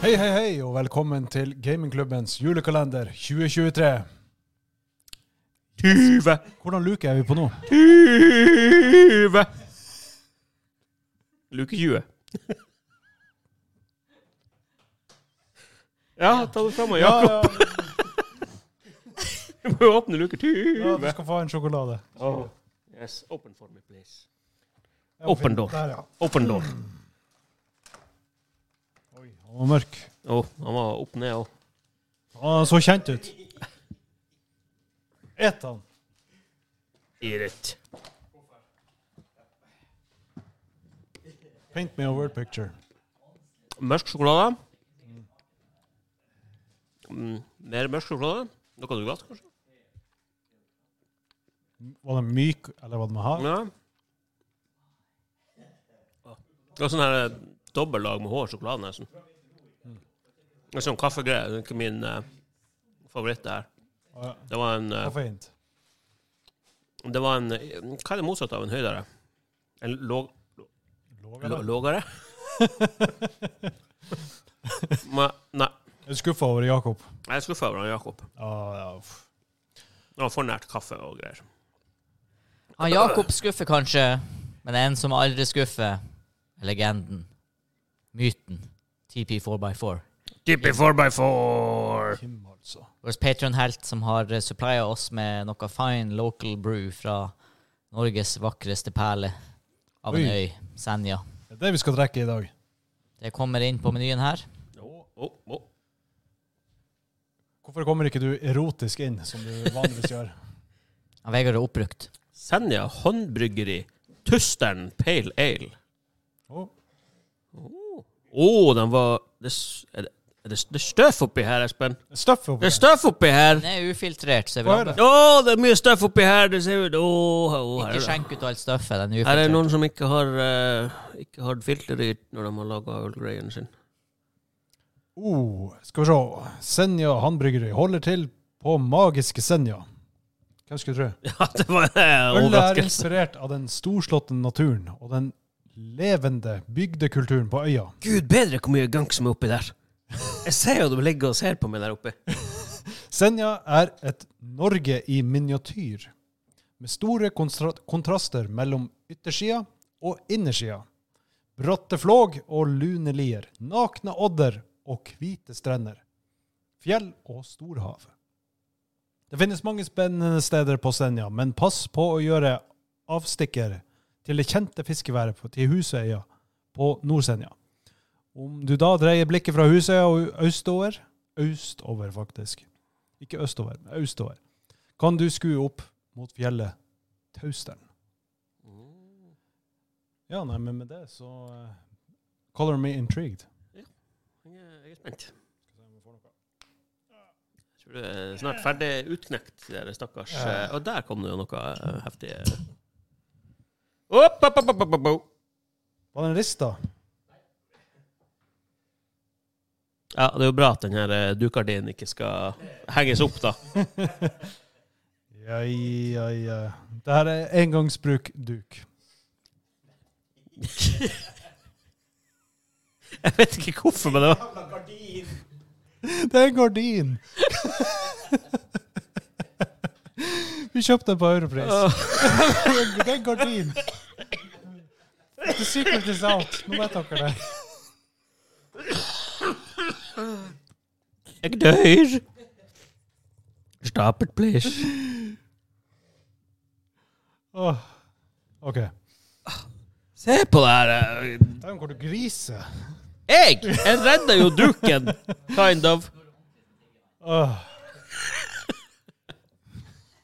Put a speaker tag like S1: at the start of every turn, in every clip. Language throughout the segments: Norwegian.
S1: Hei, hei, hei, og velkommen til Gamingklubbens julekalender 2023.
S2: 20!
S1: Hvordan luke er vi på nå?
S2: 20! Luke 20. Ja, ta det fram,
S1: Ja,
S2: Jakob.
S1: ja,
S2: Vi må jo åpne luke
S1: ja, du
S2: 20.
S1: skal få en sjokolade.
S2: Oh. Yes, open for me, please.
S1: Jeg må
S2: Åpen
S1: finne-
S2: dør.
S1: Der, ja.
S2: Open door.
S1: Oi, han var mørk.
S2: Å, Oh, han var opp ned òg.
S1: Han så kjent ut. Et han.
S2: Irrit.
S1: Paint me a word picture.
S2: Mørk sjokolade. Mm, mer mørk sjokolade. Noe du glatt, kanskje?
S1: Var den myk, eller var den hard?
S2: Ja. Det var sånn her eh, dobbeltlag med hår sjokolade, nesten. Det er Sånn kaffegreie. Det er ikke min eh, favoritt, det her.
S1: Ja.
S2: Det var en, eh,
S1: Kaffeint.
S2: det var en eh, Hva er det motsatte av en høydere? En låg...
S1: Låg,
S2: Lå-
S1: eller?
S2: Lågere? Men, nei,
S1: Jeg er skuffa over Jakob.
S2: jeg er skuffa over han Jakob.
S1: Ja, ja. uff.
S2: Han var for nært kaffe og greier.
S3: Han Jakob skuffer kanskje, men en som aldri skuffer, er legenden. Myten. TP4x4.
S2: Dippy 4x4!
S1: Kim, altså.
S3: Vår Patreon-helt som har eh, supplya oss med noe fine local brew fra Norges vakreste perle av en
S1: Oi.
S3: øy, Senja.
S1: Det er det vi skal trekke i dag.
S3: Det kommer inn på menyen her.
S2: Oh, oh, oh.
S1: Hvorfor kommer ikke du erotisk inn, som du vanligvis gjør?
S3: Han Vegard er oppbrukt.
S2: Senja håndbryggeri. Tustern Pale Ale.
S1: Å,
S2: Å, den var det, s- er det, er det, s- det er støv oppi her, Espen.
S1: det er Støff oppi
S2: Det er
S1: her.
S2: støv oppi her!
S3: Den er ufiltrert, så det
S1: Hva
S3: er
S1: er
S3: bra.
S1: det?
S2: Å, det er mye støv oppi her! Det ser ut Åh, åh, her
S3: Ikke
S2: er det.
S3: skjenk ut alt støffet. Den er
S2: Her er det
S3: ufiltrert.
S2: noen som ikke har, eh, ikke har filter i når de har laga ølgreien sin.
S1: Oh, skal vi se. Senja Handbryggeri holder til på magiske Senja. Hvem skulle tro?
S2: Ja, det var en
S1: Ølet er
S2: overraskelse.
S1: inspirert av den storslåtte naturen og den levende bygdekulturen på øya.
S2: Gud bedre hvor mye gank som er oppi der. Jeg ser jo du ligger og ser på meg der oppe.
S1: Senja er et Norge i miniatyr, med store konstra kontraster mellom yttersida og innersida. Bratte flåg og lune lier, nakne odder og hvite strender. Fjell og storhav. Det finnes mange spennende steder på Senja, men pass på å gjøre avstikker til det kjente fiskeværet på- til Husøya på Nordsenja. Om du da dreier blikket fra Husøya og østover Østover, faktisk. Ikke østover, men østover. Kan du skue opp mot fjellet Tausteren? Ja, nei, men med det så eh, Color me intrigued.
S2: Jeg er- jeg er spent. Jeg tror det er snart ferdig utknekt, dere stakkars. eh, Og der kom det jo noe eh, heftig eh. Opp, opp, opp, opp, opp, opp, opp.
S1: Var den rista?
S2: Ja, det er jo bra at den her eh, dukardinen ikke skal henges opp, da.
S1: Ja, ja, ja. Det her er engangsbruk-duk.
S2: Jeg vet ikke hvorfor, men det var
S1: Det er en gardin! Vi kjøpte den på europris. Det er en gardin. The secret is out. Nå vet dere det.
S2: Jeg dør! Stop it, please.
S1: Åh. OK.
S2: Se på det her. eh.
S1: Der hvor du griser.
S2: Jeg! Jeg redda jo duken, kind of.
S1: Åh.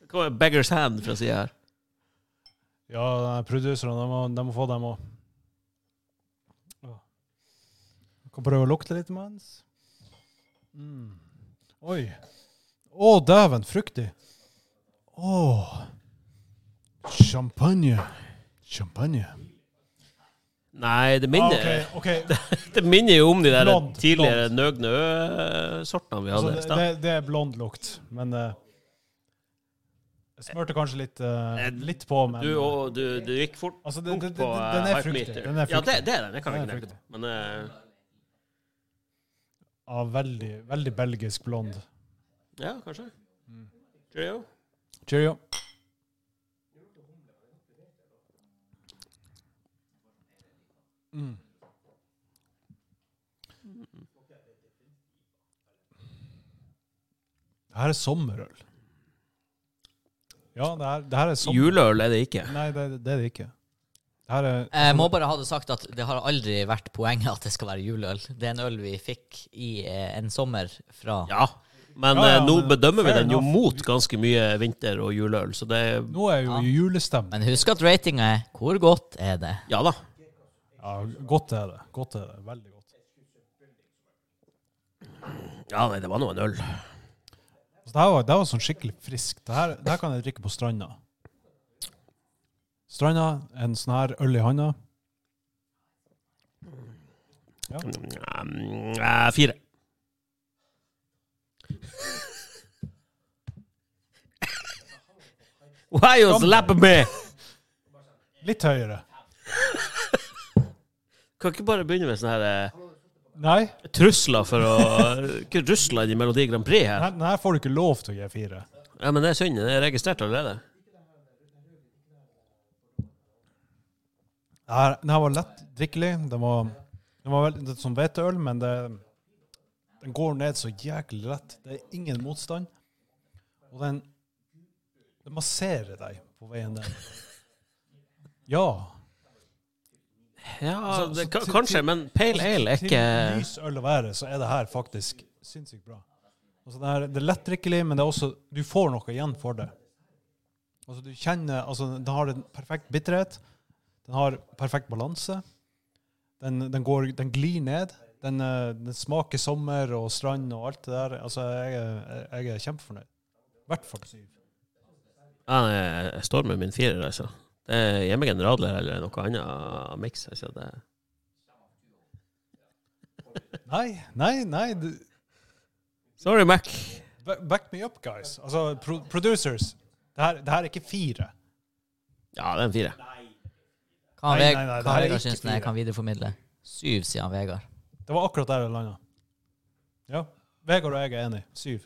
S2: Det kommer en Beggar's hand fra sida her.
S1: Ja, nei, produserne, de må, de må få dem òg. Kan prøve å lukte litt mens. Mm. Oi. Å, dæven, fruktig. Å. Champagne. Champagne.
S2: Nei, det
S1: Ah,
S2: minner,
S1: ok, ok.
S2: det minner jo om de der
S1: Blond,
S2: tidligere nøgne ø-sortene vi
S1: Altså,
S2: hadde i
S1: det,
S2: stad.
S1: det, det er blond lukt, men eh, Jeg smørte kanskje litt, eh,
S2: Eh,
S1: litt på, men
S2: Du, og, du, du gikk fort
S1: Altså, det-
S2: tungt
S1: det- det-
S2: på
S1: den er
S2: eh,
S1: fruktig.
S2: hypemeter.
S1: Den er
S2: Ja,
S1: fruktig.
S2: det, det er den. Det kan
S1: Den
S2: jeg
S1: er
S2: ikke nekte. Men eh,
S1: av veldig, veldig belgisk blond.
S2: Ja, kanskje.
S1: Mm.
S2: Cheerio.
S1: Cheerio. Mm. Det her er sommerøl. Ja, det her, det her er sommer...
S2: Juleøl er det ikke.
S1: Nei, det, det er det ikke. Det her er
S3: Jeg Eh, må bare ha det sagt at det har aldri vært poenget at det skal være juleøl. Det er en øl vi fikk i eh, en sommer fra
S2: Ja. Men
S1: Ja, ja,
S2: eh, nå
S1: men
S2: bedømmer vi
S1: fair
S2: den jo
S1: enough.
S2: mot ganske mye vinter- og juleøl, så det er
S1: Nå er jo
S3: Ja.
S1: julestemning.
S3: Men husk at ratinga er 'Hvor godt er det?'
S2: Ja da.
S1: Ja, godt er det. Godt er det. Veldig godt.
S2: Ja, nei, det var nå en øl.
S1: Så det, her var, det her var sånn skikkelig friskt. Det her, det her kan jeg drikke på stranda. Stranda, en sånn her øl i handa.
S2: Mm, eh, fire. Why you slapping me?
S1: Litt høyere.
S2: Kan ikke bare begynne med sånne her,
S1: Nei,
S2: eh, trusler for å Ikke rusler inn i Melodi Grand Prix her.
S1: den her- den her får du ikke lov til å gi fire.
S2: Ja, men det er synd. Det er registrert allerede.
S1: Den her, den her var lett drikkelig. Den var, den var veldig det er som hveteøl, men det, den går ned så jæklig lett. Det er ingen motstand. Og den, den masserer deg på veien ned. Ja.
S2: Ja,
S1: Altså,
S2: det,
S1: altså,
S2: ka-
S1: til-
S2: kanskje, men pale ale er
S1: Til
S2: ikke
S1: lys øl å være, så er det her faktisk sinnssykt bra. Altså, det, er, det er lettdrikkelig, men det er også, du får noe igjen for det. Altså, du kjenner, altså, den har en perfekt bitterhet, den har perfekt balanse, den, den, går, den glir ned, den, eh, den smaker sommer og strand og alt det der. Altså, jeg, er- jeg er kjempefornøyd. I hvert fall syv.
S2: Ja, nei, jeg står med min firer, altså. Det er hjemme generaler eller noe annet miks. Altså. Det,
S1: Nei, nei, nei. du-
S2: sorry, Mac.
S1: ba- Back me up, guys. Altså, pro producers, det her, det her er ikke fire.
S2: Ja, det er en fire.
S3: Kan
S1: Nei,
S3: Veg-
S1: nei, nei, det
S3: kan
S1: her er
S3: Vegard
S1: ikke
S3: synes den jeg
S1: fire.
S3: kan videreformidle? Syv, sier han Vegard.
S1: Det var akkurat der det landa. Ja. Vegard og jeg er enig. Syv.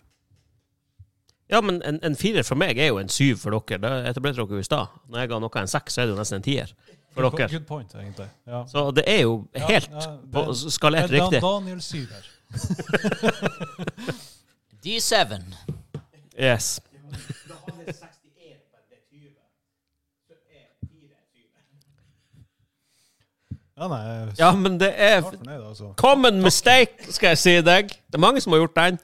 S2: Ja, men en, en firer for meg er jo en syv for dere. Det etablerte dere jo i stad. Når jeg ga noe en seks, så er det jo nesten en tier for
S1: Good-
S2: dere.
S1: Good point, egentlig. Ja.
S2: Så det er jo helt
S1: Ja, ja, det-
S2: på-
S1: Men
S2: skalert
S1: Dan-
S2: riktig.
S1: Daniel syv her.
S3: D7.
S2: Yes.
S1: Ja, nei, jeg er
S2: Ja, men det er
S1: snart fornøyd, altså.
S2: common mistake, skal jeg si deg. Det er mange som har gjort den.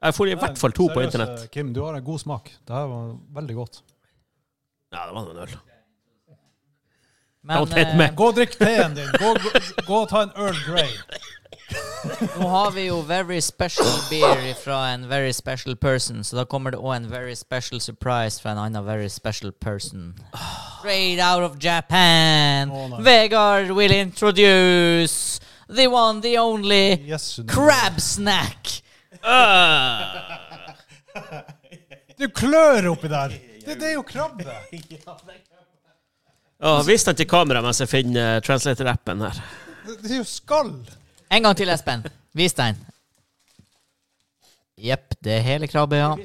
S2: Jeg får i hvert fall to på
S1: Seriøst,
S2: internett.
S1: eh, Kim, du har en god smak. Det her var veldig godt.
S2: Ja, det var nå en øl.
S3: Men eh,
S2: Don't hit me.
S1: Gå og drikk teen din. Gå, gå, gå og ta en Earl Grey.
S3: nå har vi jo very special beer fra en very special person, så da kommer det òg en very special surprise fra en annen very special person. Straight out of Japan,
S1: Å, nei.
S3: Vegard will introduce the one, the only
S1: Yes, du-
S3: crab snack.
S2: Øh.
S1: Du klør oppi der. Det, det er jo krabbe.
S2: Ja, Vis den til kamera mens jeg finner eh, translator-appen her.
S1: Det, det er jo skall.
S3: En gang til, Espen. Vis den. Jepp, det er hele krabbe, ja.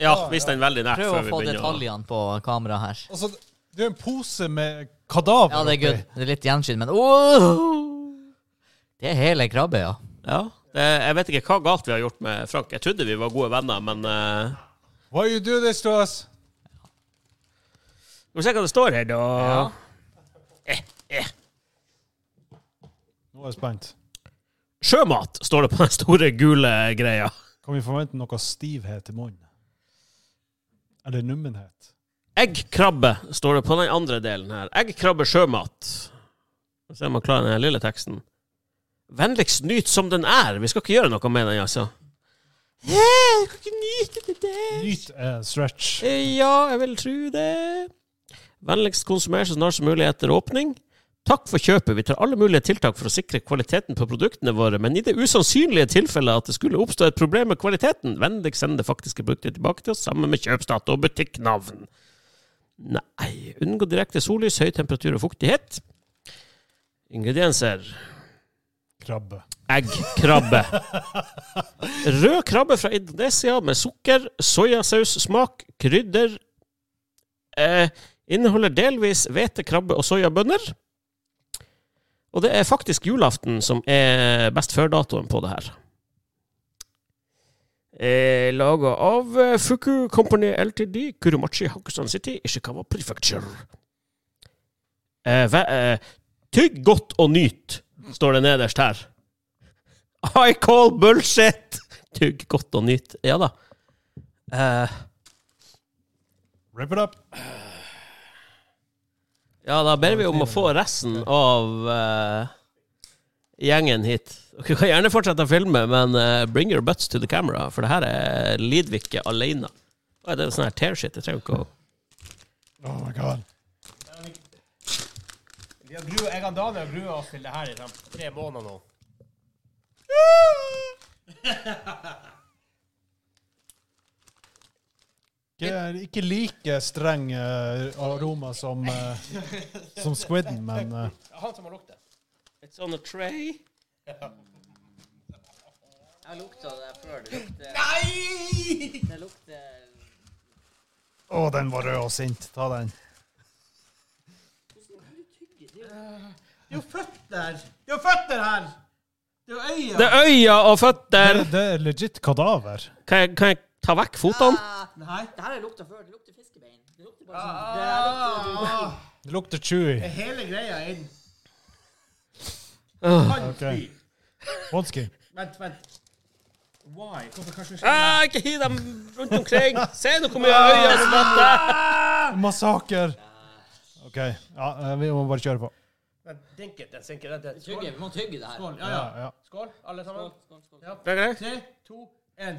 S2: Ja, vis den veldig nært
S3: Prøv å
S2: før vi
S3: få
S2: begynner. å-
S3: detaljene på kamera her.
S1: Altså, det er jo en pose med kadaver
S3: Ja, det er good.
S1: oppi.
S3: Det er litt gjenskinn, men Åh! Det er hele krabbe, ja.
S2: Ja, det, Jeg vet ikke hva galt vi har gjort med Frank. Jeg trodde vi var gode venner, men eh,
S1: Why you do this to us?
S2: Skal vi se hva det står her, da.
S1: Nå er jeg spent.
S2: Sjømat står det på den store gule greia.
S1: Kan vi forvente noe stivhet i munnen? Eller nummenhet?
S2: Eggkrabbe står det på den andre delen her. Eggkrabbe sjømat. Skal vi se om man klarer den her lille teksten. Vennligst nyt som den er. Vi skal ikke gjøre noe med den, altså. Jeg kan ikke nyte det der.
S1: Nyt eh, stretch.
S2: Eh, Ja, jeg vil tro det. Vennligst konsumer så snart som mulig etter åpning. Takk for kjøpet. Vi tar alle mulige tiltak for å sikre kvaliteten på produktene våre, men i det usannsynlige tilfellet at det skulle oppstå et problem med kvaliteten, vennligst send det faktiske produktet tilbake til oss sammen med kjøpsdato og butikknavn. Nei, unngå direkte sollys, høy temperatur og fuktighet. Ingredienser
S1: Krabbe.
S2: Eggkrabbe. Rød krabbe fra Indonesia med sukker, soyasaus, smak, krydder. Eh, inneholder delvis hvete, krabbe og soyabønner. Og det er faktisk julaften som er best før-datoen på det her. Eh, Laga av eh, Fuku Company LTD, Kurumachi, Hakusan City, Ishikawa Prefecture. Eh, væ- eh, tygg godt og nyt, står det nederst her. I call bullshit! Tygg godt og nyt. Ja da. Eh,
S1: Rip it up.
S2: ja, da ber vi om å få resten av eh, gjengen hit. Dere kan gjerne fortsette å filme, men eh, bring your butts to the camera, for det her er Lidvike alene. Å, Det er sånn her tear-shit. Jeg trenger ikke å
S1: Oh my god.
S4: Vi har grua, jeg og Daniel har grua oss til det her i sånn tre måneder nå.
S1: Ikke, ikke like streng eh, aroma som, eh, som squidden, men eh,
S4: Det er han som har lukta.
S2: It's on a tray.
S3: Jeg lukta det før. Det lukter,
S4: Nei!
S3: det lukter
S1: Å, den var rød og sint. Ta den.
S4: Det er jo føtter! Det er jo føtter her! Det er jo
S2: Det
S4: øyne!
S2: er øyne og føtter.
S1: Det, det er legit kadaver.
S2: Kan jeg, kan jeg ta vekk fotene?
S4: Nei.
S3: Det her har jeg lukta før. Det lukter fiskebein. Det lukter bare sånn-
S4: Ah,
S1: Det lukter chewy.
S4: hele greia er inn.
S2: Åh.
S4: Kan fly.
S1: Ok. Wodski.
S4: Vent, vent. Why? Hvorfor kanskje ikke?
S2: Ah, ikke hiv dem rundt omkring. Se nå hvor mye øyne som fatter.
S1: Massaker. OK. Ja, eh, vi må bare kjøre på.
S4: Vent, Dink it, den sinker. Vent, vent.
S3: Tygge,
S4: Skål.
S3: vi må tygge det her.
S4: Skål. Ja,
S1: Ja,
S4: ja.
S1: ja.
S4: Skål, alle sammen. Ja.
S2: Det er greit.
S4: Tre, to, én.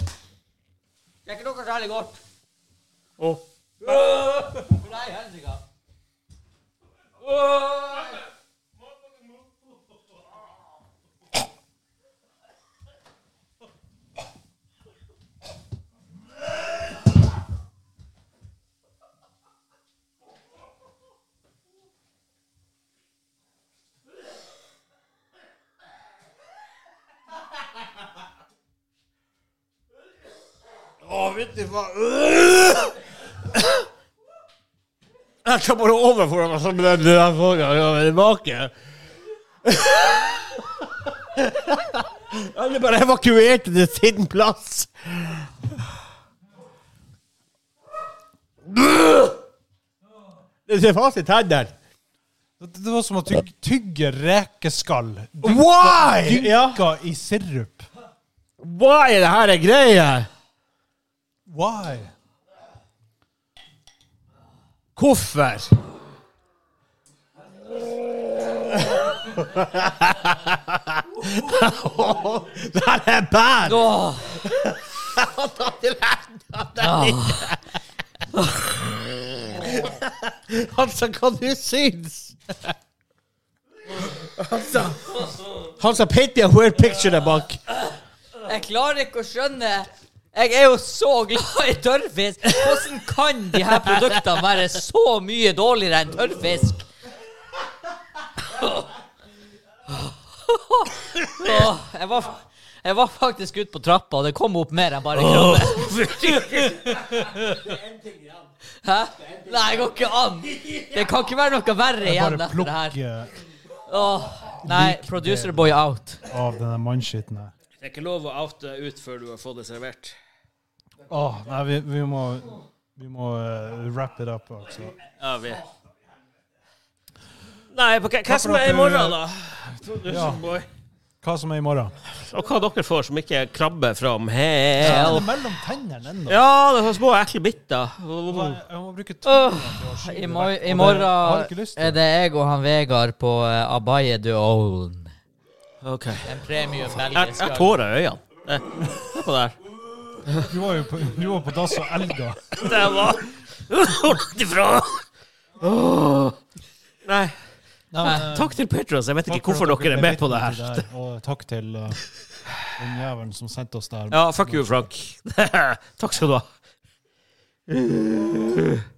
S3: Det er ikke noe særlig godt.
S2: Åh.
S3: For deg, helsike.
S4: Jeg skal bare over for dem, så blir det den forrige gangen tilbake. Alle bare evakuerte til sin plass. Det ser fast i tennene.
S1: Det, det var som å tyg, tygge rekeskall.
S4: Why?
S1: Dynka i sirup.
S4: Why er det her en greie?
S1: Why?
S4: Hvorfor? Det her er bad!
S3: Åh,
S4: Altså, hva du syns? Altså Han sa 'paint me a weird picture' der bak.
S3: jeg klarer ikke å skjønne Jeg er jo så glad i tørrfisk. Hvordan kan de her produktene være så mye dårligere enn tørrfisk? Åh, jeg, var, jeg var faktisk ute på trappa, og det kom opp mer enn bare krabbe. Hæ? Nei, det går ikke an! Det kan ikke være noe verre
S1: Bare
S3: igjen etter det her.
S1: plukke
S3: Åh, nei, producer boy out.
S1: av denne mannskitten her.
S2: Det er ikke lov å oute ut før du har fått det servert.
S1: Åh, nei, vi, vi må, vi må eh, wrap it up. Også.
S2: Ja, vi Nei, på hva, hva som er i morgen, da?
S1: Ja.
S2: Boy.
S1: Hva som er i morgen?
S2: Og hva dere får som ikke er krabbe fra
S1: Ja,
S2: hell.
S1: det er mellom tennene ennå.
S2: Ja, det var små, ekle bitter.
S1: Jeg må- Jeg må bruke to
S3: Åh,
S1: til å skyve
S3: I,
S1: det
S3: mo
S1: vekk, og det har
S3: I
S1: jeg ikke
S3: morgen
S1: lyst
S3: er
S1: til.
S3: det jeg og han Vegard på eh, Abaye du Own.
S2: Ok.
S3: En premium
S2: Jeg
S3: belgisk
S2: jeg har
S3: øl.
S2: tårer i øynene. Eh, Se på det her.
S1: Du var jo på, du var på dass og elga.
S2: Det var Hold ifra! Åh. Nei.
S1: Nei, men, eh,
S2: Takk til Patrons. Jeg vet
S1: takk
S2: ikke
S1: for
S2: hvorfor
S1: at
S2: dere er
S1: ble
S2: med på det
S1: vitne
S2: her.
S1: til det her, Og takk til eh, den jævelen som sendte oss der.
S2: Ja, fuck you, Frank. Takk skal du ha.